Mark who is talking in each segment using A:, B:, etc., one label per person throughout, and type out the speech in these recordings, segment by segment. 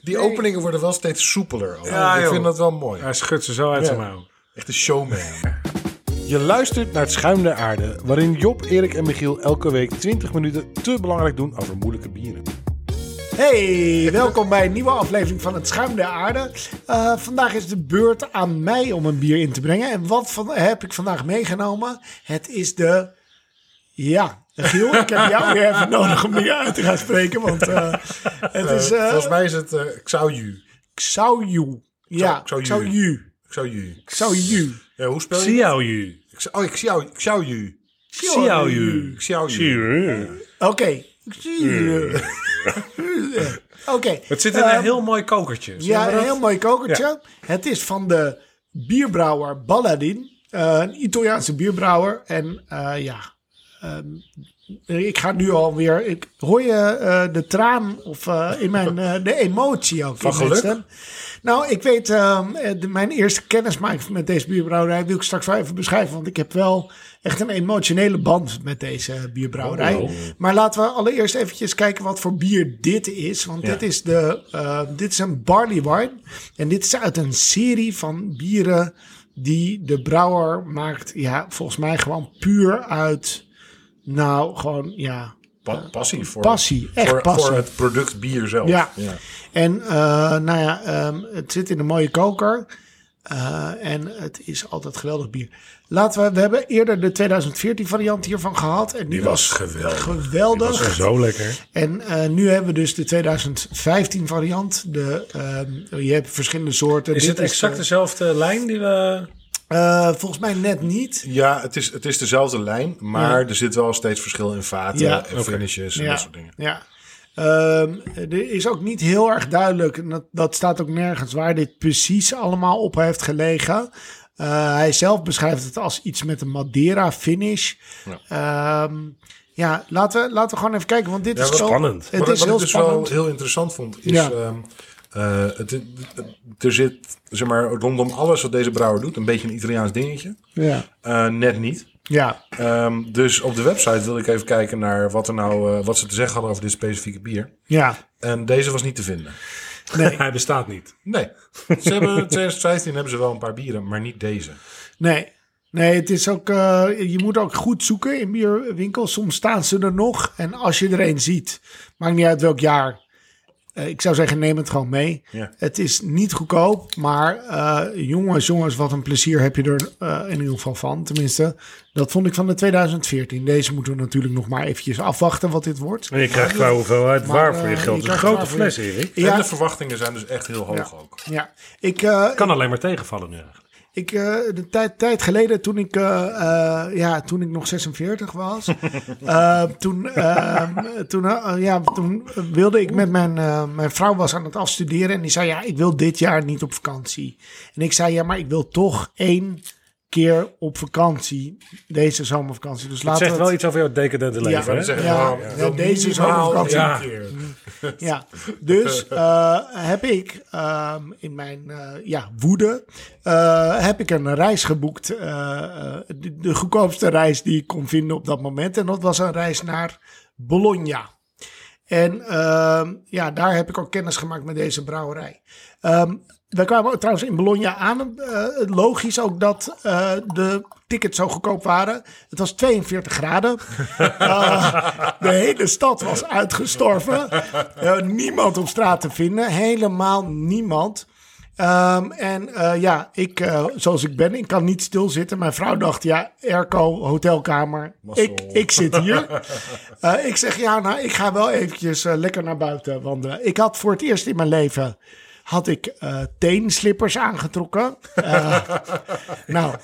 A: Die openingen worden wel steeds soepeler. al.
B: Ja,
A: ik
B: joh.
A: vind dat wel mooi.
B: Hij schudt ze zo uit
A: Ja.
B: zijn mouw.
A: Echt een showman.
B: Je luistert naar het Schuim der Aarde, waarin Job, Erik en Michiel elke week 20 minuten te belangrijk doen over moeilijke bieren.
C: Hey, welkom bij een nieuwe aflevering van Het Schuim der Aarde. Eh, vandaag is de beurt aan mij om een bier in te brengen. En wat van, heb ik vandaag meegenomen? Het is de... Ja, Giel, ik heb jou weer even nodig om dingen uit te gaan spreken. Want eh, het is
A: Eh, Volgens
C: eh
A: mij is het eh Xiaoyu.
C: Xiaoyu. Ja,
A: Xiaoyu.
C: Xiaoyu.
A: Xiaoyu.
C: Xiaoyu.
A: Ja, hoe spel je?
B: Xiaoyu.
A: dat? Oh, ik Xiao- Xiaoyu.
B: Xiaoyu.
A: Xiaoyu.
B: Xiaoyu.
C: Oké. Oké.
B: Het zit in een heel mooi kokertje. Zie je
C: Ehm, Ja,
B: maar
C: een
B: dat?
C: heel mooi kokertje. Het is van de bierbrouwer Balladin. eh, een Italiaanse bierbrouwer. En eh, ja, ehm, ik ga nu alweer... Ik, hoor je eh, de traan of eh, in mijn, eh, de emotie ook? Van
A: geluk?
C: Nou, ik weet, ehm, eh, de- mijn eerste kennismaking met deze bierbrouwerij wil ik straks wel even beschrijven. Want ik heb wel echt een emotionele band met deze bierbrouwerij. Maar laten we allereerst eventjes kijken wat voor bier dit is. Want dit, is de, eh, dit is een barley wine. En dit is uit een serie van bieren die de brouwer maakt. Ja, volgens mij gewoon puur uit, nou, gewoon, ja,
A: Pa- passie voor,
C: Passie, echt
A: voor,
C: passie.
A: voor het product bier zelf.
C: Ja. En eh, nou ja, ehm, het zit in een mooie koker. Eh, en het is altijd geweldig bier. Laten we, we hebben eerder de 2014 variant hiervan gehad. En die,
A: was geweldig.
C: geweldig.
B: Dat is zo lekker.
C: En eh, nu hebben we dus de 2015 variant. De, ehm, je hebt verschillende soorten.
B: Is
C: Dit eh,
B: het exact
C: de-
B: dezelfde lijn die we...
C: eh, volgens mij net niet.
A: Ja, het is, het is dezelfde lijn, maar er zit wel steeds verschil in vaten
C: Ja.
A: en finishes en dat soort dingen.
C: Ja. Ehm, er is ook niet heel erg duidelijk, en dat, dat staat ook nergens, waar dit precies allemaal op heeft gelegen. Eh, hij zelf beschrijft het als iets met een Madeira finish. Ja, ja laten, we, laten we gewoon even kijken, want dit is
A: wat
C: wel-
B: spannend.
C: Het
A: Maar
C: is
A: wat
C: heel
A: ik dus
C: spannend.
A: wel heel interessant vond, is...
C: Ja.
A: ehm, eh, het, het- het- er zit zeg maar, rondom alles wat deze brouwer doet een beetje een Italiaans dingetje.
C: Ja.
A: Eh, net niet.
C: ja,
A: Ehm, dus op de website wilde ik even kijken naar wat, er nou, eh, wat ze te zeggen hadden over dit specifieke bier.
C: ja.
A: En deze was niet te vinden.
B: Hij bestaat niet.
A: Nee. Ze hebben, 2015 hebben ze wel een paar bieren, maar niet deze.
C: Nee. Nee, het is ook, eh, je moet ook goed zoeken in bierwinkels. Soms staan ze er nog. En als je er een ziet, maakt niet uit welk jaar. Eh, ik zou zeggen, neem het gewoon mee.
A: Ja.
C: Het is niet goedkoop, maar eh, jongens, jongens, wat een plezier heb je er eh, in ieder geval van. Tenminste, dat vond ik van de 2014. Deze moeten we natuurlijk nog maar eventjes afwachten wat dit wordt.
B: En je krijgt qua hoeveelheid
C: Maar,
B: waar voor je
C: eh,
B: geld. Het
C: je
B: is een
C: krijgt
B: grote
C: waar voor je-
B: fles, Erik.
C: Ja.
A: En de verwachtingen zijn dus echt heel hoog ook.
C: Ja, ik, eh,
B: Kan alleen maar tegenvallen nu eigenlijk.
C: Ik, eh een tijd, tijd geleden, toen ik, eh, eh, ja, toen ik nog 46 was, eh, toen, eh, toen, eh, ja, toen wilde ik met mijn, eh, mijn vrouw was aan het afstuderen. En die zei, ja, ik wil dit jaar niet op vakantie. En ik zei, ja, maar ik wil toch één keer op vakantie, deze zomervakantie. Dus
B: Het
C: laten
B: zegt
C: we
B: wel
C: het-
B: iets over jouw decadente
C: Ja.
B: leven,
A: Dan
B: hè?
A: zeggen
C: Ja,
A: we,
C: ja,
A: wel
C: deze is
A: minimaal
C: ook een
A: één
B: vakantie.
A: keer.
C: Ja, dus eh, heb ik ehm, in mijn eh, ja, woede eh, heb ik een reis geboekt. eh, eh, de, de goedkoopste reis die ik kon vinden op dat moment. En dat was een reis naar Bologna. En ehm, ja, daar heb ik ook kennis gemaakt met deze brouwerij. Ehm wij kwamen ook trouwens in Bologna aan. Eh, logisch ook dat eh, de tickets zo goedkoop waren. Het was 42 graden. Eh, de hele stad was uitgestorven. Eh, niemand op straat te vinden. Helemaal niemand. Ehm, en eh, ja, ik, eh, zoals ik ben, ik kan niet stilzitten. Mijn vrouw dacht, ja, airco, hotelkamer. Ik, ik zit hier. Eh, ik zeg, ja, nou, ik ga wel eventjes eh, lekker naar buiten wandelen. Ik had voor het eerst in mijn leven... had ik eh, teenslippers aangetrokken. Eh, nou,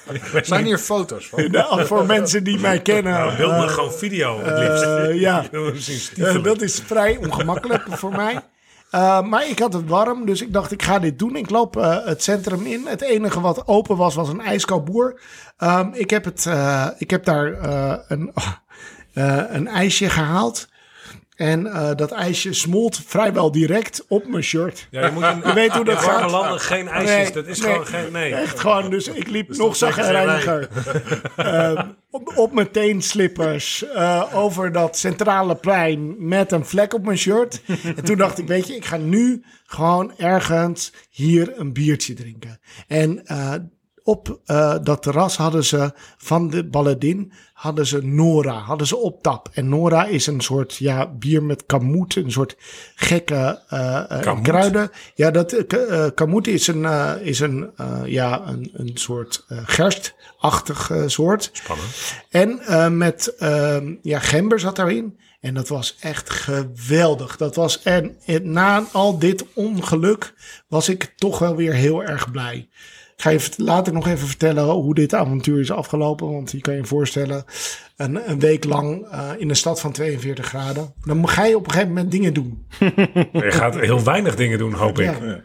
A: Zijn hier foto's van?
C: nou, voor mensen die mij kennen...
D: Nou,
B: Heel maar nou, gewoon video, het liefst.
C: eh, ja.
B: Ik wil hem zien stiefelen.
C: Eh, dat is vrij ongemakkelijk voor mij. Eh, maar ik had het warm, dus ik dacht, ik ga dit doen. Ik loop eh, het centrum in. Het enige wat open was, was een ijskouboer. Ehm, ik, heb het, eh, ik heb daar eh, een, eh, een ijsje gehaald. En eh, dat ijsje smolt vrijwel direct op mijn shirt.
D: Ja, je moet in,
C: Je weet hoe dat
D: in warme
C: gaat.
D: landen geen ijsjes.
C: Nee,
D: dat is
C: nee.
D: gewoon geen... Nee.
C: Echt gewoon, dus ik liep nog
A: dat zegt
C: zagrijniger. Ehm op, op mijn teenslippers eh, over dat centrale plein met een vlek op mijn shirt. En toen dacht ik, weet je, ik ga nu gewoon ergens hier een biertje drinken. En eh, op eh, dat terras hadden ze van de Balladin, hadden ze Nora, hadden ze op tap. En Nora is een soort ja, bier met kamoet, een soort gekke eh, eh, kruiden. Ja, dat eh, k- eh, kamoet is een, eh, is een, eh, ja, een, een soort eh, gerstachtig eh, soort. Spannend. En eh, met ehm, ja, gember zat daarin. En dat was echt geweldig. Dat was, en, en na al dit ongeluk was ik toch wel weer heel erg blij. Ik ga je vert- later nog even vertellen hoe dit avontuur is afgelopen. Want je kan je voorstellen, een, een week lang eh, in een stad van 42 graden. Dan ga je op een gegeven moment dingen doen.
D: Je gaat heel weinig dingen doen, hoop ik.
C: Ja.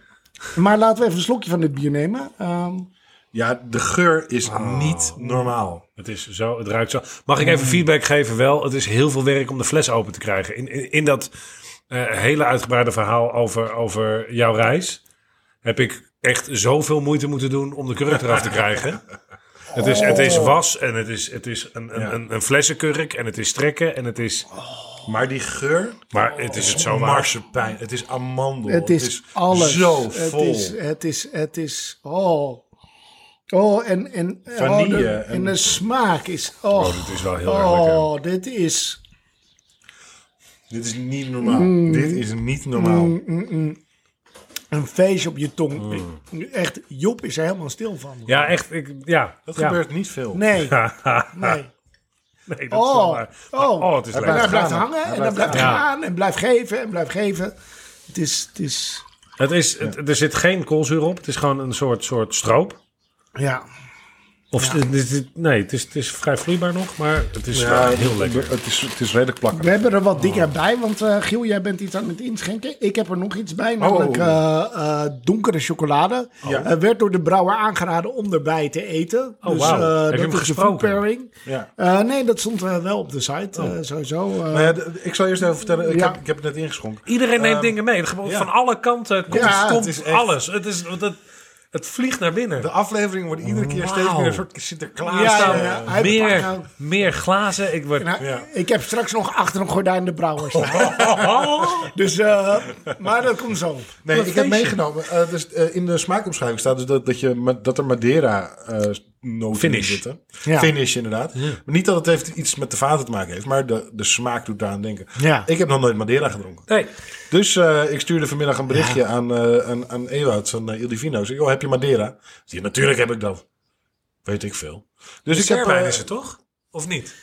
C: Maar laten we even een slokje van dit bier nemen. Ehm,
A: Ja, de geur is
C: Ah.
A: niet normaal.
D: Het is zo, het ruikt zo. Mag ik
C: Mm.
D: even feedback geven? Wel, het is heel veel werk om de fles open te krijgen. In, in, in dat eh, hele uitgebreide verhaal over, over jouw reis heb ik echt zoveel moeite moeten doen om de kurk eraf te krijgen. Het is, het
C: Oh.
D: is was en het is, het is een, een, een, een flessenkurk en het is trekken en het is...
A: Maar die geur,
D: Maar het is het
C: Oh.
D: zo waar.
A: marsepein, het is amandel.
C: het is, alles.
A: Oh, zo
C: het
A: vol.
C: Is, het is, het is, oh. Oh, en, en, oh,
A: Vanille
C: de-
A: en-
C: en, de smaak is, oh.
D: Oh, dit is wel heel erg lekker.
C: oh, dit is,
A: Dit is niet normaal.
C: Mm.
A: Dit is niet normaal.
C: een feest op je tong. Ik- Echt, Job is er helemaal stil van.
D: Ja, echt. Ik, ja,
A: Dat
D: ja.
A: gebeurt niet veel.
C: Nee, nee.
D: Nee, dat is wel
C: Oh,
D: waar. Maar-
C: oh.
D: oh, het is
C: hij
D: lekker.
C: blijft,
A: Hij blijft
C: hangen en hij blijft
D: hangen.
C: gaan en blijft geven en blijft geven. Het is, het is,
D: Het is, het, er zit geen koolzuur op. Het is gewoon een soort, soort stroop.
C: ja.
D: Of het is- het- nee, het is, het is vrij vloeibaar nog, maar het is
A: Ja,
D: wel heel lekker.
A: Het is, het is redelijk plakker.
C: We hebben er
D: Oh.
C: wat dikker bij, want eh, Giel, jij bent iets aan het inschenken. Ik heb er nog iets bij, namelijk
D: Oh.
C: eh, eh, donkere chocolade.
A: Ja.
C: Eh, werd door de brouwer aangeraden om erbij te eten.
D: Oh,
C: dus
D: wauw.
C: eh,
D: Heb je
C: dat
D: hem
C: is
D: gesproken?
C: de food pairing.
A: Ja.
C: Eh, nee, dat stond eh, wel op de site,
D: Oh.
C: eh, sowieso. eh.
A: Maar ja, d- ik zal eerst even vertellen. Ik,
C: Ja.
A: heb, ik heb het net ingeschonken.
D: Iedereen neemt dingen mee. Gewoon
A: ja.
D: Van alle kanten het komt
C: Ja,
D: het komt
A: het is echt-
D: alles. Het, is, want het, het vliegt naar binnen.
A: De aflevering wordt iedere keer steeds
D: Wauw.
A: meer een soort Sinterklaas.
D: Er
C: Ja,
D: staan
C: ja, ja. Hij pakt
D: Meer,
C: nou-
D: meer glazen. Ik word,
C: Nou,
A: Ja.
C: Ik heb straks nog achter een gordijn de brouwer staan. dus, eh, maar dat komt zo.
A: Nee,
D: Wat
A: ik heb
D: feestje.
A: meegenomen. eh, dus, eh, in de smaakomschrijving staat dus dat, dat, je, ma- dat er Madeira eh noten
D: Finish.
A: in zitten.
C: Ja.
A: Finish, inderdaad. Maar niet dat het heeft iets met de vaten te maken heeft, maar de, de smaak doet daaraan denken.
C: Ja.
A: Ik heb nog nooit Madeira gedronken.
D: nee,
A: Dus eh, ik stuurde vanmiddag een berichtje aan, eh aan, aan Ewout van eh, Il Divino. Ik zei, joh, heb je Madeira? Die, natuurlijk heb ik dat. Weet ik veel. Dus ik heb...
D: Serpijn
A: eh,
D: is het toch? Of niet?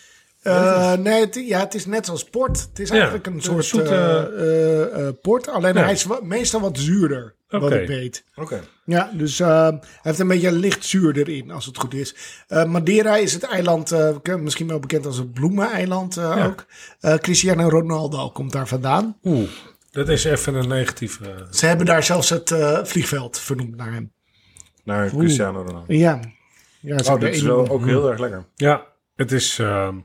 C: Eh, nee, het, ja, het is net zoals port. Het is eigenlijk een
D: een
C: soort
D: zoete-
C: eh, eh, eh, port. Alleen
D: Ja.
C: hij is wa- meestal wat zuurder, wat
D: Oké.
C: ik weet.
A: Oké.
C: Ja, dus eh, hij heeft een beetje licht zuur erin, als het goed is. Eh, Madeira is het eiland, eh, ken- misschien wel bekend als het bloemeneiland eh, ook. Eh, Cristiano Ronaldo komt daar vandaan.
D: Oeh, dat is even een negatieve...
C: Ze hebben daar zelfs het eh, vliegveld vernoemd naar hem.
A: Naar Cristiano Ronaldo.
C: Ja, ja ze
A: Oh,
C: hebben
A: dit is
C: één-
A: wel ook heel erg lekker.
D: ja, het is... ehm,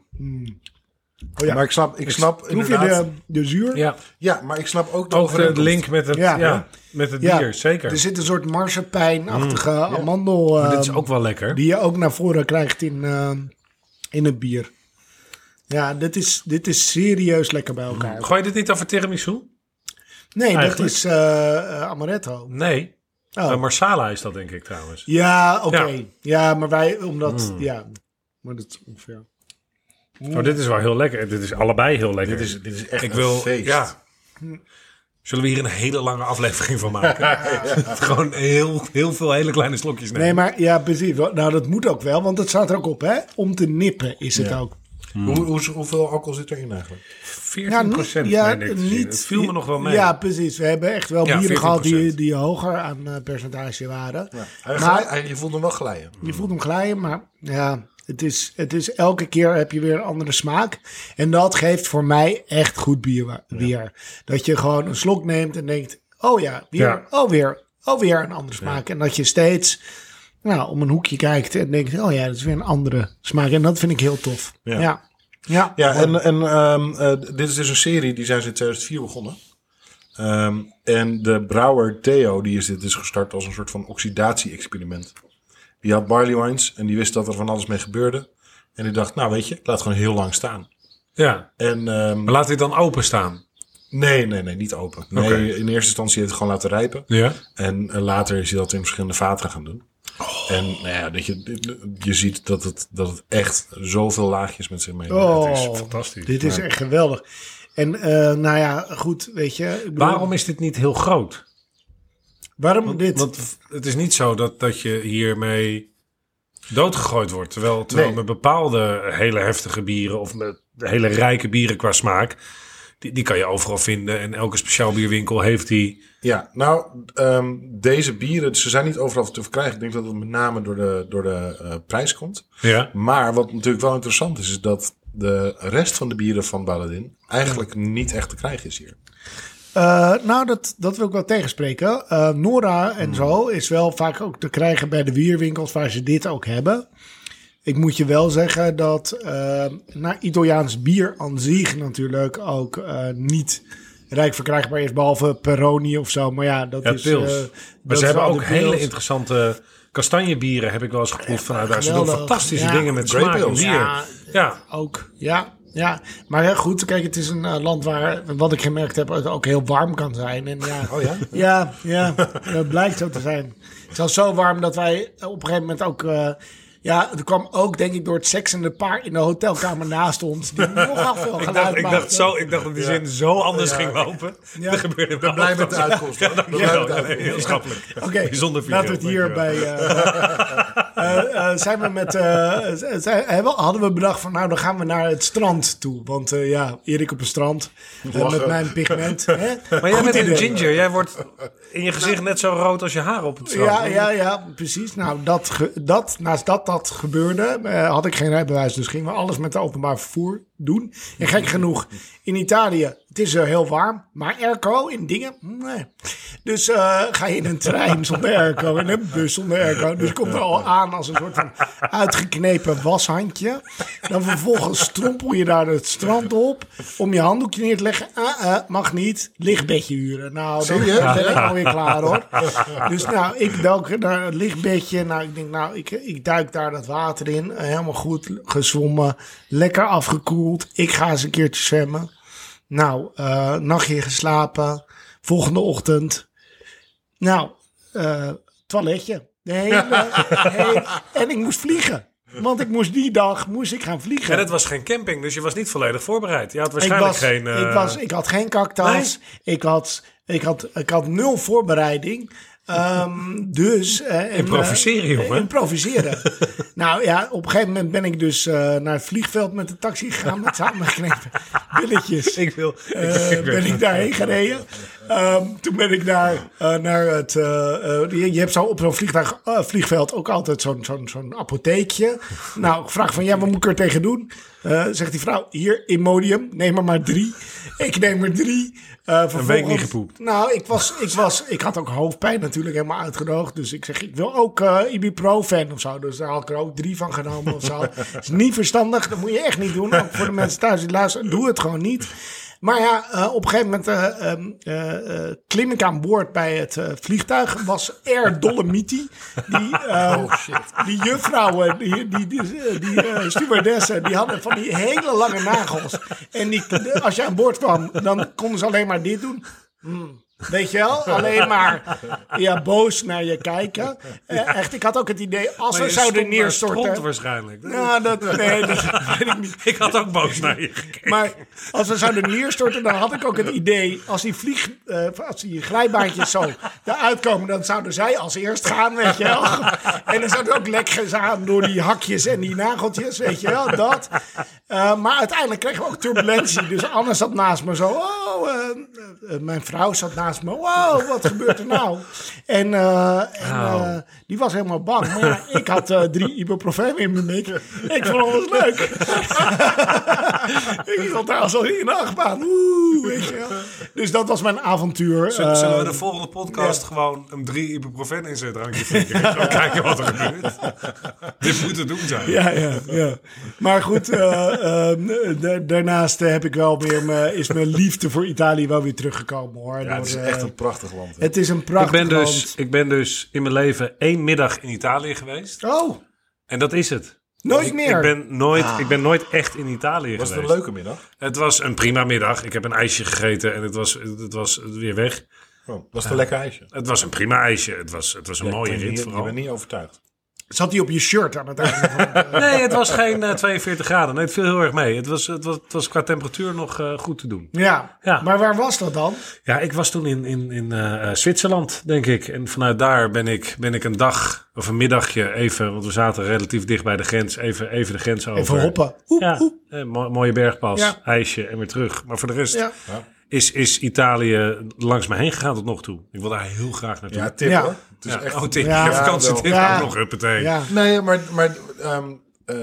C: Ja.
A: Maar ik snap, ik snap
C: Proef je
A: inderdaad...
C: de, de zuur?
D: ja,
A: Ja, maar ik snap ook de
D: ook de
A: overeenkomst.
D: link met het, ja.
C: Ja.
D: met het
C: Ja. Dus,
D: bier, zeker.
C: Er zit een soort marsepijnachtige amandel...
D: dit is
C: eh,
D: ook wel lekker.
C: Die je ook naar voren krijgt in, eh, in het bier. Ja, dit is, dit is serieus lekker bij elkaar.
D: Gooi je dit niet over tiramisu?
C: Nee, dat
D: Mm. Eigenlijk.
C: is eh, eh, Amaretto.
D: Nee.
C: Oh.
D: Eh, Marsala is dat denk ik trouwens.
C: Ja, oké.
D: Ja.
C: Ja. maar wij, omdat,
A: Hmm.
C: ja. Maar dat is ongeveer.
D: Oh, dit is wel heel lekker. Dit is allebei heel lekker.
A: Dit is, dit is echt
D: ik
A: een
D: wil,
A: feest.
D: Ja. Zullen we hier een hele lange aflevering van maken? Gewoon heel, heel veel hele kleine slokjes nemen.
C: Nee, maar ja, precies. Wel, Nou, dat moet ook wel, want dat staat er ook op, hè? Om te nippen is het
A: Ja.
C: ook.
A: Hoe, hoe, hoeveel alcohol zit erin eigenlijk?
D: 14
C: Ja, niet-
D: procent.
C: ja,
D: meen ik te zien. Het viel me nog wel mee.
C: Ja, precies. We hebben echt wel
D: Ja,
C: bieren gehad die,
D: 14%.
C: die hoger aan eh, percentage waren.
A: Hij
C: Maar-
A: glij- hij- je voelt hem wel glijden.
C: Je voelt hem glijden, maar ja, het is, het is elke keer heb je weer een andere smaak. En dat geeft voor mij echt goed bier wa- weer. Dat je gewoon een slok neemt en denkt, oh ja, weer,
D: Ja.
C: oh weer, oh weer een andere smaak. En dat je steeds nou, om een hoekje kijkt en denkt, oh ja, dat is weer een andere smaak. En dat vind ik heel tof.
A: Ja.
C: Ja, Ja.
A: Ja, en, en ehm, eh, dit is dus een serie die zijn ze in 2004 begonnen. Ehm, en de brouwer Theo, die is dit dus gestart als een soort van oxidatie-experiment. Die had barley wines en die wist dat er van alles mee gebeurde. En die dacht, nou weet je, ik laat het gewoon heel lang staan.
D: Ja,
A: En ehm,
D: maar laat dit dan openstaan.
A: nee, nee, nee, niet open. Nee,
D: Oké.
A: in eerste instantie heeft het gewoon laten rijpen.
D: Ja.
A: En eh, later is hij dat in verschillende vaten gaan doen. En nou ja, dat je, je ziet dat het, dat het echt zoveel laagjes met zich mee
C: Oh,
A: Het is
D: fantastisch.
C: Dit is echt geweldig. En eh, nou ja, goed, weet je. ik bedoel,
D: Waarom is dit niet heel groot?
C: waarom dit?
D: Want het is niet zo dat, dat je hiermee doodgegooid wordt. Terwijl, terwijl
A: Nee.
D: met bepaalde hele heftige bieren of met hele rijke bieren qua smaak, die, die kan je overal vinden. En elke speciaal bierwinkel heeft die.
A: Ja, nou, ehm, deze bieren, ze zijn niet overal te verkrijgen. Ik denk dat het met name door de, door de eh, prijs komt.
D: Ja.
A: Maar wat natuurlijk wel interessant is, is dat de rest van de bieren van Baladin eigenlijk niet echt te krijgen is hier.
C: Eh, nou, dat, dat wil ik wel tegenspreken. Eh, Nora
D: Hmm.
C: en zo is wel vaak ook te krijgen bij de wierwinkels waar ze dit ook hebben. Ik moet je wel zeggen dat eh, nou, Italiaans bier aan zich natuurlijk ook eh, niet rijk verkrijgbaar is. Behalve Peroni of zo. Maar ja, dat
D: Ja,
C: is...
D: pils.
C: eh,
D: Maar
C: dat
D: ze
C: is
D: hebben
C: wel
D: ook
C: de
D: hele
C: pils.
D: interessante kastanjebieren, heb ik wel eens geproefd vanuit daar. Ze doen
C: geweldig.
D: fantastische
C: Ja,
D: dingen met
A: grape
D: smaak en
A: ales.
D: bier. Ja.
C: Ja. Ook, ja. Ja, maar ja, goed, kijk, het is een eh, land waar, wat ik gemerkt heb, het ook heel warm kan zijn. En ja,
A: Oh ja?
C: Ja, ja, dat blijkt zo te zijn. Het was zo warm dat wij op een gegeven moment ook... eh, ja, het kwam ook denk ik door het seksende paar in de hotelkamer naast ons. Die nogal veel
D: Ik
C: geluid
D: dacht, ik, dacht
C: maakte.
D: zo, ik dacht dat die zin zo anders ging lopen.
C: Ja.
D: Er gebeurde wel
A: Blij met
D: wat.
A: de uitkomst. hoor. We blijven
D: Ja,
A: met de
D: nee,
A: uitkomst.
D: heel schappelijk.
C: Oké,
D: Bijzonder video,
C: laten we het hier bij...
D: dankjewel.
C: eh, eh, eh, zijn we met... eh, z- z- hebben- hadden we bedacht van, nou, dan gaan we naar het strand toe. Want eh, ja, Erik op een strand. eh, met mijn pigment. Hè?
D: Maar jij
C: Goed
D: bent een
C: idee.
D: ginger. Jij wordt in je gezicht net zo rood als je haar op het strand.
C: Ja, ja, ja, precies. Nou, dat, ge- dat, naast dat dat gebeurde, eh, had ik geen rijbewijs. Dus gingen we alles met de openbaar vervoer doen. En gek genoeg, in Italië, het is eh, heel warm. Maar airco in dingen, nee. Dus eh, ga je in een trein zonder airco, in een bus zonder airco. Dus je komt er al aan als een soort van uitgeknepen washandje. Dan vervolgens strompel je daar het strand op om je handdoekje neer te leggen. Ah, ah, mag niet, lichtbedje huren. Nou, dan
A: Serieus?
C: ben ik alweer klaar hoor. Dus nou, ik duik naar het lichtbedje. Nou, ik denk, nou, ik, ik duik daar dat water in. Helemaal goed gezwommen. Lekker afgekoeld. Ik ga eens een keertje zwemmen. Nou, eh, nachtje geslapen. Volgende ochtend. Nou, eh, toiletje. De hele, hele- en ik moest vliegen. Want ik moest die dag moest ik gaan vliegen.
D: En het was geen camping, dus je was niet volledig voorbereid. Je had
C: ik,
D: waarschijnlijk
C: was,
D: geen... eh,
C: ik, was, ik had geen kaktas. Ik, had, ik, had, ik had nul voorbereiding. Ehm, dus... eh, en, eh,
D: Improviseren, jongen.
C: Improviseren. nou ja, op een gegeven moment ben ik dus eh, naar het vliegveld met de taxi gegaan met samengeknepen billetjes.
D: Ik wil... ik-
C: Eh,
D: ik weet-
C: ben ik daarheen gereden. Ehm, toen ben ik naar, eh, naar het. eh, eh, je, je hebt zo op zo'n vliegtuig, eh, vliegveld ook altijd zo'n zo'n zo'n apotheekje. Nou, ik vraag van ja, wat moet ik er tegen doen? Eh, zegt die vrouw, hier, Imodium, neem er maar drie. Ik neem er drie. Eh, vervolgens-
D: niet gepoept.
C: Nou, ik, was, ik, was, ik had ook hoofdpijn natuurlijk helemaal uitgedroogd. Dus ik zeg, ik wil ook eh ibuprofen of zo. Dus daar had ik er ook drie van genomen of zo. Dat is niet verstandig, dat moet je echt niet doen. Ook voor de mensen thuis die luisteren, doe het gewoon niet. Maar ja, eh, op een gegeven moment eh, ehm, eh, eh, klim ik aan boord bij het eh, vliegtuig. was Air Dolomiti. Die, eh, die juffrouwen, die, die, die, die, eh, stewardessen, die hadden van die hele lange nagels. En die, als je aan boord kwam, dan konden ze alleen maar dit doen. Weet je wel? Alleen maar ja, boos naar je kijken. Eh, echt, ik had ook het idee, als
D: maar
C: we
D: je
C: zouden
D: stond daar stront
C: neerstorten...
D: waarschijnlijk.
C: Nou, dat, nee, dat weet ik niet.
D: Ik had ook boos naar je gekeken.
C: Maar als we zouden neerstorten, dan had ik ook het idee... als die, vlieg, eh, als die glijbaantjes zo eruit komen... dan zouden zij als eerst gaan, weet je wel. En dan zouden ook lekjes aan door die hakjes en die nageltjes, weet je wel, dat. Eh, maar uiteindelijk kregen we ook turbulentie. Dus Anne zat naast me zo... Oh, eh, eh, mijn vrouw zat naast me. Wow, wat gebeurt er nou? En, eh, en eh, die was helemaal bang. Maar ja, ik had eh, drie ibuprofen in mijn mik. Ik vond alles leuk. Ik zat daar als al in de achtbaan. Oeh, weet je wel. Dus dat was mijn avontuur.
D: Zullen, zullen we
C: Eh,
D: de volgende podcast gewoon een drie ibuprofen in zijn drankje flikken? Dan kijken wat er gebeurt. Dit moet het doen zijn.
C: ja, ja, ja. Maar goed, eh, ehm, da- daarnaast heb ik wel weer mijn, is mijn liefde voor Italië wel weer teruggekomen hoor.
A: Ja, het is
C: Door,
A: echt
C: eh,
A: een prachtig land. hè.
C: het is een
D: Ik
C: prachtig
D: ben, dus,
C: land.
D: ik ben dus in mijn leven één middag in Italië geweest.
C: Oh,
D: En dat is het.
C: nooit
D: Ik,
C: meer.
D: ik, ben nooit, ik ben nooit echt in Italië
A: Ah. was het
D: geweest.
A: een leuke middag?
D: Het was een prima middag. Ik heb een ijsje gegeten en het was, het was weer weg.
A: Oh, was het een lekker ijsje?
D: Het was een prima ijsje. Het was, het was een mooie
A: Ik ben
D: rit
A: niet- Je
D: vooral.
A: bent niet overtuigd.
C: Zat hij op je shirt aan het einde van het, eh,
D: Nee, het was geen eh, 42 graden. Nee, het viel heel erg mee. Het was, het was, het was qua temperatuur nog eh, goed te doen.
C: ja.
D: Ja.
C: maar waar was dat dan?
D: Ja, ik was toen in, in, in eh, eh, Zwitserland, denk ik. En vanuit daar ben ik, ben ik een dag of een middagje even... want we zaten relatief dicht bij de grens, even, even de grens over.
C: Even hoppen. Oep,
D: Ja,
C: oep.
D: eh, mo- mooie bergpas,
C: Ja.
D: ijsje en weer terug. Maar voor de rest
C: Ja.
D: is, is Italië langs me heen gegaan tot nog toe. Ik wil daar heel graag naartoe.
A: Ja, tip
C: Ja.
A: hoor. Het is
D: Ja,
A: echt...
D: oh, Tim,
C: Ja,
D: ja, vakantie,
A: wel.
D: Tim,
C: Ja.
D: ook nog huppatee.
C: Ja.
A: Nee, maar, maar ehm, eh,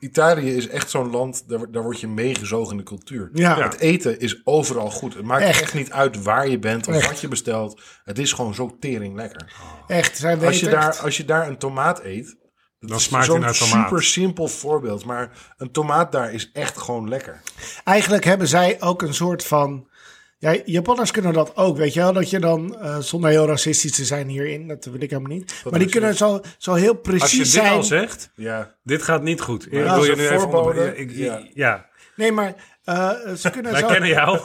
A: Italië is echt zo'n land, daar, wo- daar word je meegezogen in de cultuur.
C: Ja.
A: Het eten is overal goed. Het maakt
C: Echt.
A: echt, niet uit waar je bent of
C: Echt.
A: wat je bestelt. Het is gewoon zo tering lekker.
C: Echt, zij weten
A: Als je, daar,
C: echt.
A: als je daar een tomaat eet, dat
D: Dan
A: is
D: smaakt hij
A: zo'n
D: naar tomaat.
A: super simpel voorbeeld. Maar een tomaat daar is echt gewoon lekker.
C: Eigenlijk hebben zij ook een soort van... Ja, Japanners kunnen dat ook, weet je wel? Dat je dan, eh, zonder heel racistisch te zijn hierin, dat wil ik helemaal niet. maar die
A: is
C: kunnen zo, zo heel precies
D: Als je dit
C: zijn.
D: al zegt,
A: Ja.
D: dit gaat niet goed. Ik
A: dat
D: wil
A: is
D: je
A: een
D: nu even
A: voorbode.
D: onderbreken. Ik-
A: Ja.
D: ik- Ja,
C: Nee, maar eh, ze kunnen
D: wij
C: zo...
D: kennen jou.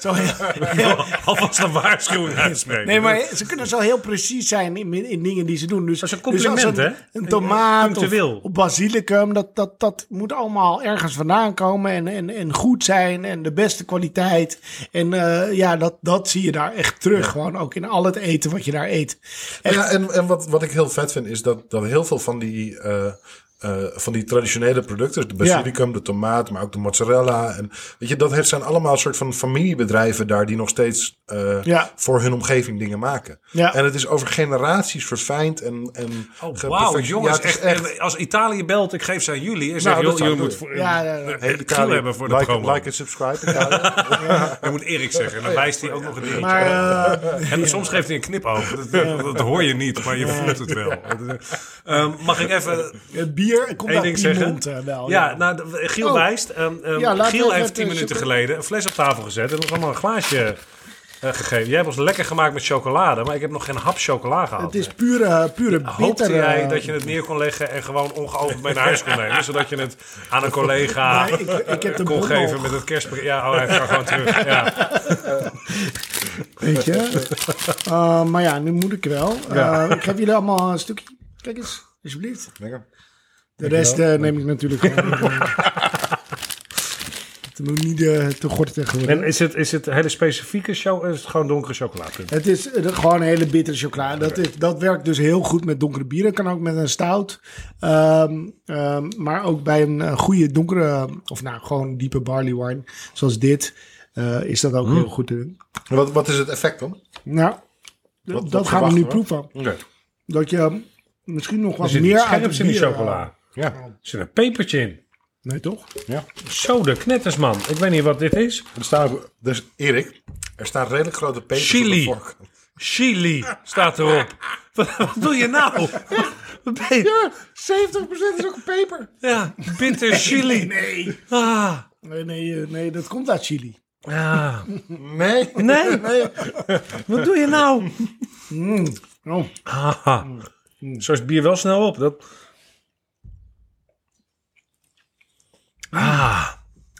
C: zo heel-
D: Alvast een waarschuwing uitspreken.
C: Nee, maar ze kunnen zo heel precies zijn in, in dingen die ze doen. Dus,
D: Dat is een compliment,
C: dus als een,
D: hè?
C: Een tomaat of,
D: Punctueel.
C: of basilicum, dat, dat, dat moet allemaal ergens vandaan komen en, en, en goed zijn en de beste kwaliteit. En eh, ja, dat, dat zie je daar echt terug, gewoon ook in al het eten wat je daar eet. Echt,
A: Ja, en, en wat, wat ik heel vet vind is dat, dat heel veel van die, eh, eh, van die traditionele producten, de basilicum, de tomaat, maar ook de mozzarella. En, weet je, dat het zijn allemaal soort van familiebedrijven daar die nog steeds eh,
C: Ja.
A: voor hun omgeving dingen maken.
C: Ja.
A: En het is over generaties verfijnd en, en
D: Oh, wauw,
A: geperfect-
D: jongens.
A: Ja, het is
D: echt, als Italië belt, ik geef ze aan jullie. En zeg,
C: Nou,
A: dat
D: joh,
A: zou
D: jullie
A: ik
D: moet
A: doen.
D: voor,
C: Ja, ja, ja.
D: eh,
A: Heel
D: het
A: Italië.
D: gevoel hebben voor de
A: like,
D: promo.
A: Like en subscribe. Italië.
D: Dat moet Erik zeggen. En dan wijst hij ook nog een dingetje.
C: maar eh,
D: En soms geeft hij een knipoog. Dat, dat hoor je niet, maar je voelt het wel. Ehm, mag ik even
C: het bier komt
D: één
C: uit
D: ding
C: Piemont
D: zeggen?
C: eh, wel.
D: Ja, nou, de- Giel
C: Oh.
D: wijst. ehm, ehm,
C: Ja, laten
D: Giel
C: we
D: heeft
C: even
D: tien minuten
C: super-
D: geleden een fles op tafel gezet. En nog allemaal een glaasje eh, gegeven. Jij hebt ons lekker gemaakt met chocolade. Maar ik heb nog geen hap chocola gehad.
C: Het is pure, pure
D: Hoopte
C: bitter,
D: jij
C: eh,
D: dat je het neer kon leggen en gewoon ongeopend mee naar huis kon nemen? Zodat je het aan een collega
C: Nee, ik- ik heb de
D: kon
C: bon
D: geven
C: nog.
D: met het kerstpakket. Ja, oh, hij kan gewoon terug. Ja.
C: Weet je? Eh, maar ja, nu moet ik wel. Eh, ik geef jullie allemaal een stukje. Kijk eens, alsjeblieft.
A: Lekker.
C: De rest eh, neem ik natuurlijk gewoon. eh, Het moet niet eh, te gortig worden.
D: En is het, is het hele specifieke show? Is het gewoon donkere chocoladepunt?
C: Het is eh, gewoon hele bittere chocola. Dat, is, dat werkt dus heel goed met donkere bieren. Kan ook met een stout. Ehm, ehm, maar ook bij een eh, goede donkere, of nou gewoon diepe barley wine, zoals dit, eh, is dat ook
D: Mm.
C: heel goed te doen.
A: Wat, wat is het effect dan?
C: Nou, d-
A: Wat-
C: dat
A: wat
C: gaan we nu
A: verwachten we?
C: proeven.
A: Oké.
C: Dat je eh, misschien nog
D: Er
C: wat
D: zit
C: meer
D: iets
C: uit het
D: scherps in die
C: bier, eh,
D: chocola.
A: Ja.
D: Er zit een pepertje in.
C: Nee, toch?
D: Zo de knetters, man. Ik weet niet wat dit is.
A: Er staan, ook- dus Erik, er staan redelijk grote pepers op
D: Chili.
A: de vork.
D: Chili staat erop. Wat, wat doe je nou? Wat ben je-
A: 70% is ook een peper.
D: Ja, bitter chili.
C: Nee.
D: Ah,
C: Nee, nee, eh, nee, dat komt uit Chili.
D: ja.
A: Nee.
D: Nee, wat doe je nou?
C: Oh.
D: Haha. Zo is het bier wel snel op. Dat... Ah.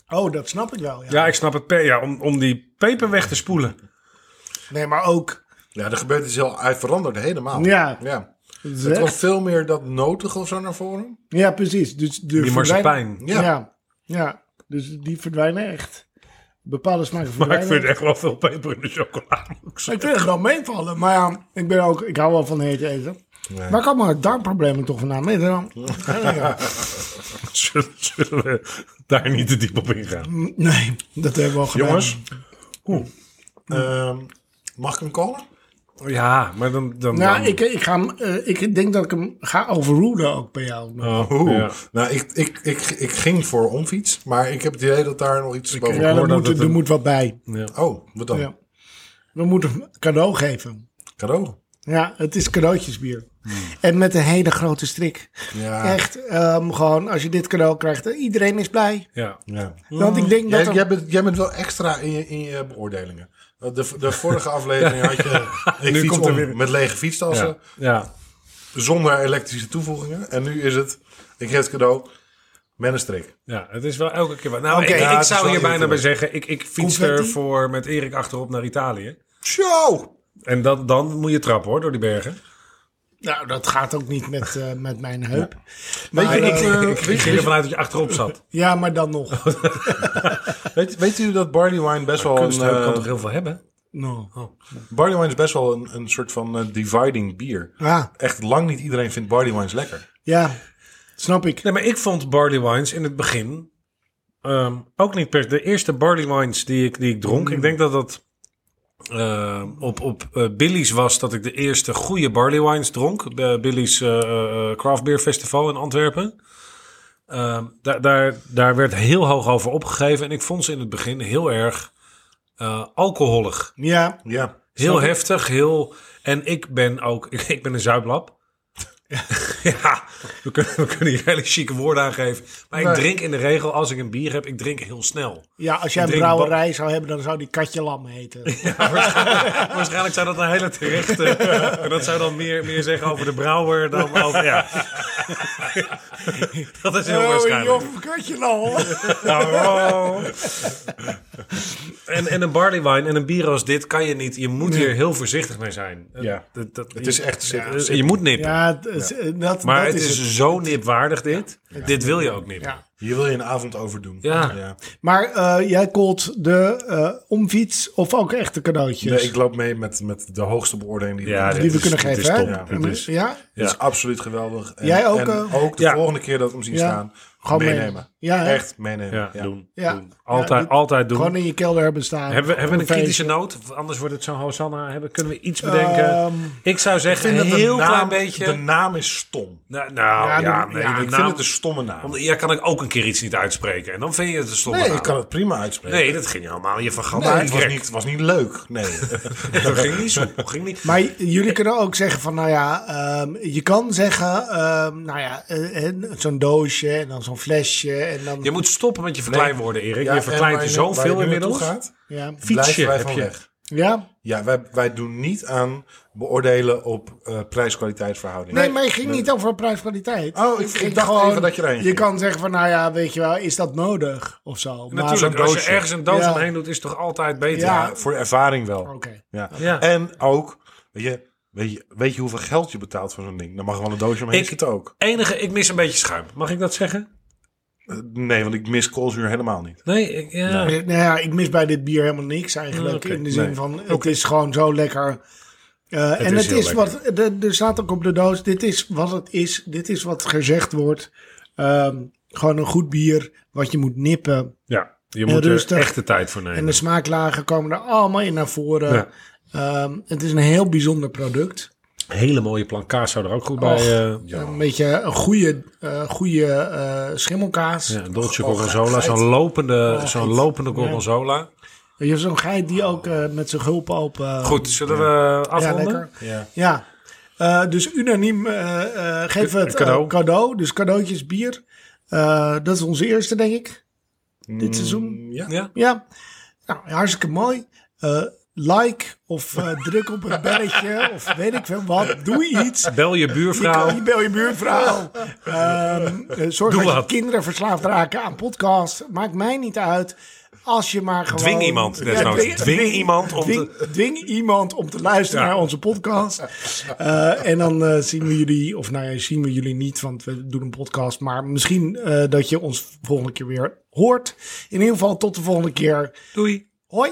C: oh, dat snap ik wel. Ja.
D: Ja, ik snap het. pe- Ja, om, om die peper weg te spoelen.
C: Nee, maar ook.
A: Ja, er gebeurt iets heel... Hij verandert helemaal.
C: Ja.
A: ja.
C: het is
A: Het
C: echt-
A: komt veel meer dat notige of zo naar voren.
C: Ja, precies. Dus de
D: Die
C: verdwijnen-
D: marsepein.
A: Ja.
C: Ja. ja. dus die verdwijnen echt. Bepaalde smaken
D: Maar ik
C: verdwijnen.
D: vind echt wel veel peper in de chocola.
C: Ik vind het wel meevallen, maar ja, ik, ben ook, ik hou wel van heet eten. Waar komen mijn darmproblemen toch vandaan? Nee, dan,
D: Zullen, zullen we daar niet te diep op ingaan?
C: nee, dat hebben we al gedaan.
D: Jongens.
A: Ehm, mag ik hem callen?
D: Ja, maar dan... dan,
C: Nou,
D: dan-
C: ik, ik, ga, hem, eh, ik denk dat ik hem ga overrulen ook bij jou.
D: Oh,
A: Oeh.
D: ja.
A: Nou, ik, ik, ik, ik ging voor omfiets, maar ik heb het idee dat daar nog iets boven
C: ja,
D: hoor
C: er
D: dat
C: moet,
D: het
C: er
D: een-
C: moet wat bij.
A: Oh, wat dan?
C: Ja. We moeten hem cadeau geven.
A: Cadeau.
C: Ja, het is cadeautjesbier.
D: Hmm.
C: En met een hele grote strik.
A: Ja.
C: Echt, ehm, gewoon als je dit cadeau krijgt, eh, iedereen is blij.
D: Ja.
A: Ja.
C: Want ik
D: Mm.
C: denk
A: Jij,
C: dat... er-
A: jij, bent, jij bent wel extra in je, in je beoordelingen. Want De, de vorige aflevering had je ik
D: Nu
A: fiets
D: komt er
A: om
D: weer-
A: met lege fietstassen,
D: Ja. ja.
A: zonder elektrische toevoegingen. En nu is het, ik geef het cadeau, met een strik.
D: Ja, het is wel elke keer wat.
A: Oké.
D: Nou, ik,
A: Ja,
D: ik
A: het is
D: zou
A: wel
D: hier bijna bij
A: irritant.
D: zeggen, ik, ik fiets
C: Confetti?
D: ervoor met Erik achterop naar Italië.
A: Zo!
D: En dan, dan moet je trappen hoor, door die bergen.
C: Nou, dat gaat ook niet met, eh, met mijn heup.
A: Weet je,
C: Maar,
A: dat,
C: eh,
A: eh,
D: ik, ik
A: weet,
D: ging
A: weet,
D: ervan uit dat je achterop zat.
C: Ja, maar dan nog.
D: Oh.
A: weet, weet u dat barley wine best wel een,
D: Kunstheup kan
A: eh,
D: toch heel veel hebben?
C: No.
D: Oh.
A: barley wine is best wel een, een soort van eh, dividing bier.
C: Ah,
A: Echt lang niet iedereen vindt barley wines lekker.
C: ja, snap ik.
D: Nee, maar ik vond barley wines in het begin ehm, ook niet per De eerste barley wines die ik, die ik dronk, ik denk dat dat ehm, op, op eh, Billy's was dat ik de eerste goede barley wines dronk. Bij Billy's eh, eh, Craft Beer Festival in Antwerpen. Ehm, daar, daar, daar werd heel hoog over opgegeven. En ik vond ze in het begin heel erg eh, alcoholig.
C: Ja,
A: Ja.
D: Heel heftig, heel... En ik ben ook... Ik, ik ben een zuiplap. ja, we kunnen, we kunnen hier hele chique woorden aan geven. Maar ik
A: Nee.
D: drink in de regel, als ik een bier heb, ik drink heel snel.
C: ja als jij
D: Ik
C: een
D: drink ba-
C: brouwerij zou hebben, dan zou die Katje Lam heten. Oh,
D: waarschijnlijk, waarschijnlijk zou dat een hele terechte... en dat zou dan meer, meer zeggen over de brouwer dan over... Ja. dat is heel waarschijnlijk.
C: Oh,
D: Nou, oh.
C: joh, Katje Lam.
D: En, en een barley wine en een bier als dit kan je niet. Je moet hier heel voorzichtig mee zijn.
A: Ja.
D: Dat, dat,
A: Het is echt zip-
D: je,
A: zip-
D: je moet nippen.
C: Ja, het is- eh, dat,
D: Maar
C: dat
D: het is, dus-
C: het.
D: zo nipwaardig dit. Dit wil je ook niet.
C: Ja.
A: Hier wil je een avond over doen.
D: Ja.
C: Maar eh, jij called de eh, omfiets of ook echte cadeautjes?
A: Nee, ik loop mee met, met de hoogste beoordeling die
D: Ja,
A: er
C: die
A: is.
C: we
D: dit
C: kunnen
D: is- dit
C: geven, hè?
D: is top.
C: Ja,
D: Dit is-
C: ja?
A: Het is absoluut geweldig. En,
C: Jij ook,
A: En
C: eh?
A: ook de
D: Ja.
A: volgende keer dat we hem zien
C: Ja.
A: staan,
C: Gewoon
A: meenemen.
C: meenemen. Ja, hè?
A: Echt meenemen.
D: Ja,
A: Ja.
D: doen.
C: Ja.
D: doen. Altijd,
C: Ja, dit-
D: altijd doen.
C: Gewoon in je kelder hebben staan.
D: Hebben we, hebben we een
C: Feestje.
D: kritische noot? Anders wordt het zo'n Hosanna. Hebben, kunnen we iets bedenken?
C: Ehm,
D: ik zou
A: Ik
D: zeggen,
A: vind
D: een
A: dat de
D: heel
A: naam-
D: klein beetje...
A: De naam is stom.
D: nou, nou,
C: Ja,
D: ja,
C: de-
D: nee,
C: ja,
D: de
A: ik
D: naam-
A: vind het een stomme naam.
D: Ja, kan ik ook een keer iets niet uitspreken. En dan vind je het een stomme
A: Nee,
D: naam.
A: ik kan het prima uitspreken.
D: Nee, dat ging helemaal. Je vergat
A: Nee,
D: aan
A: het was niet, het was niet leuk. Nee.
D: Dat ging niet soepel. Ging niet...
C: Maar j- jullie kunnen ook zeggen van, nou ja, ehm, je kan zeggen, ehm, nou ja, eh, eh, zo'n doosje en dan zo'n flesje en dan...
D: Je moet stoppen met je verkleinwoorden, Erik.
A: Ja,
D: je
A: en
D: verkleint
A: waar
D: er
A: je nu- waar je nu
D: zoveel
A: naartoe
D: inmiddels.
A: Gaat,
C: ja.
A: blijven wij
D: heb
A: van
D: je.
A: weg.
C: ja?
A: Ja, wij, wij doen niet aan beoordelen op eh prijs-kwaliteitsverhouding.
C: Nee, maar je ging niet over prijs-kwaliteit.
A: Oh, ik- ik
C: ging
A: dacht even dat je erheen
C: Je
A: ging.
C: kan zeggen van, nou ja, weet je wel, is dat nodig of zo? Maar-
D: Natuurlijk, als je
A: doosje.
D: ergens een doos
C: Ja.
D: omheen doet, is het toch altijd beter.
C: Ja.
A: Ja, voor de ervaring wel.
C: Oké.
A: Ja.
D: Ja.
A: En ook, weet je, weet je, weet je hoeveel geld je betaalt voor zo'n ding? Dan mag er wel een doosje omheen
D: Ik-
A: zitten ook.
D: Enige, ik mis een beetje schuim. Mag ik dat zeggen?
A: Eh, Nee, want ik mis koolzuur helemaal niet.
D: Nee, ik- ja.
C: Eh, Nou ja, ik mis bij dit bier helemaal niks eigenlijk.
D: Oké,
C: in de zin
A: nee.
C: van, het is gewoon zo lekker. Eh, en
D: is
C: het
D: heel
C: is wat, er- er staat ook op de doos, dit is wat het is. Dit is wat gezegd wordt. Ehm, gewoon een goed bier, wat je moet nippen.
D: Ja, je
C: En
D: moet er
C: rustig.
D: echt de tijd voor nemen.
C: En de smaaklagen komen er allemaal in naar voren.
D: Ja.
C: Ehm, het is een heel bijzonder product.
D: Hele mooie plank kaas zou er ook goed bij.
C: Och,
D: eh,
C: Een beetje een goede, eh, goede eh, schimmelkaas.
D: ja, een Dolce Gorgonzola, zo'n
C: Oh,
D: lopende, zo'n lopende Gorgonzola.
C: Je hebt zo'n geit die ook eh, met zijn gulp open...
D: Goed, zullen we
C: ja,
D: afronden?
C: lekker.
A: Ja.
C: Ja. Eh, dus unaniem eh, eh, geven we het eh,
D: Cadeau.
C: cadeau. Dus cadeautjes, bier. Eh, dat is onze eerste, denk ik.
D: Mm.
C: Dit seizoen.
A: Ja.
D: Ja.
C: Ja. Nou, hartstikke mooi. Eh, like of eh, druk op het belletje of weet ik veel wat. Doe iets.
D: Bel je
C: Je,
D: buurvrouw.
C: kan, je bel je buurvrouw. Ehm, eh, zorg
D: Nou. Doe
C: dat
D: wat.
C: je kinderen verslaafd raken aan podcast. Maakt mij niet uit. Als je maar gewoon...
D: Dwing iemand, desnoods. Dwing iemand om
C: dwing, dwing iemand om te luisteren
D: Ja.
C: naar onze podcast. Eh, en dan eh, zien we jullie... Of nou ja, zien we jullie niet, want we doen een podcast. Maar misschien eh, dat je ons volgende keer weer hoort. In ieder geval tot de volgende keer.
D: Doei.
C: Hoi.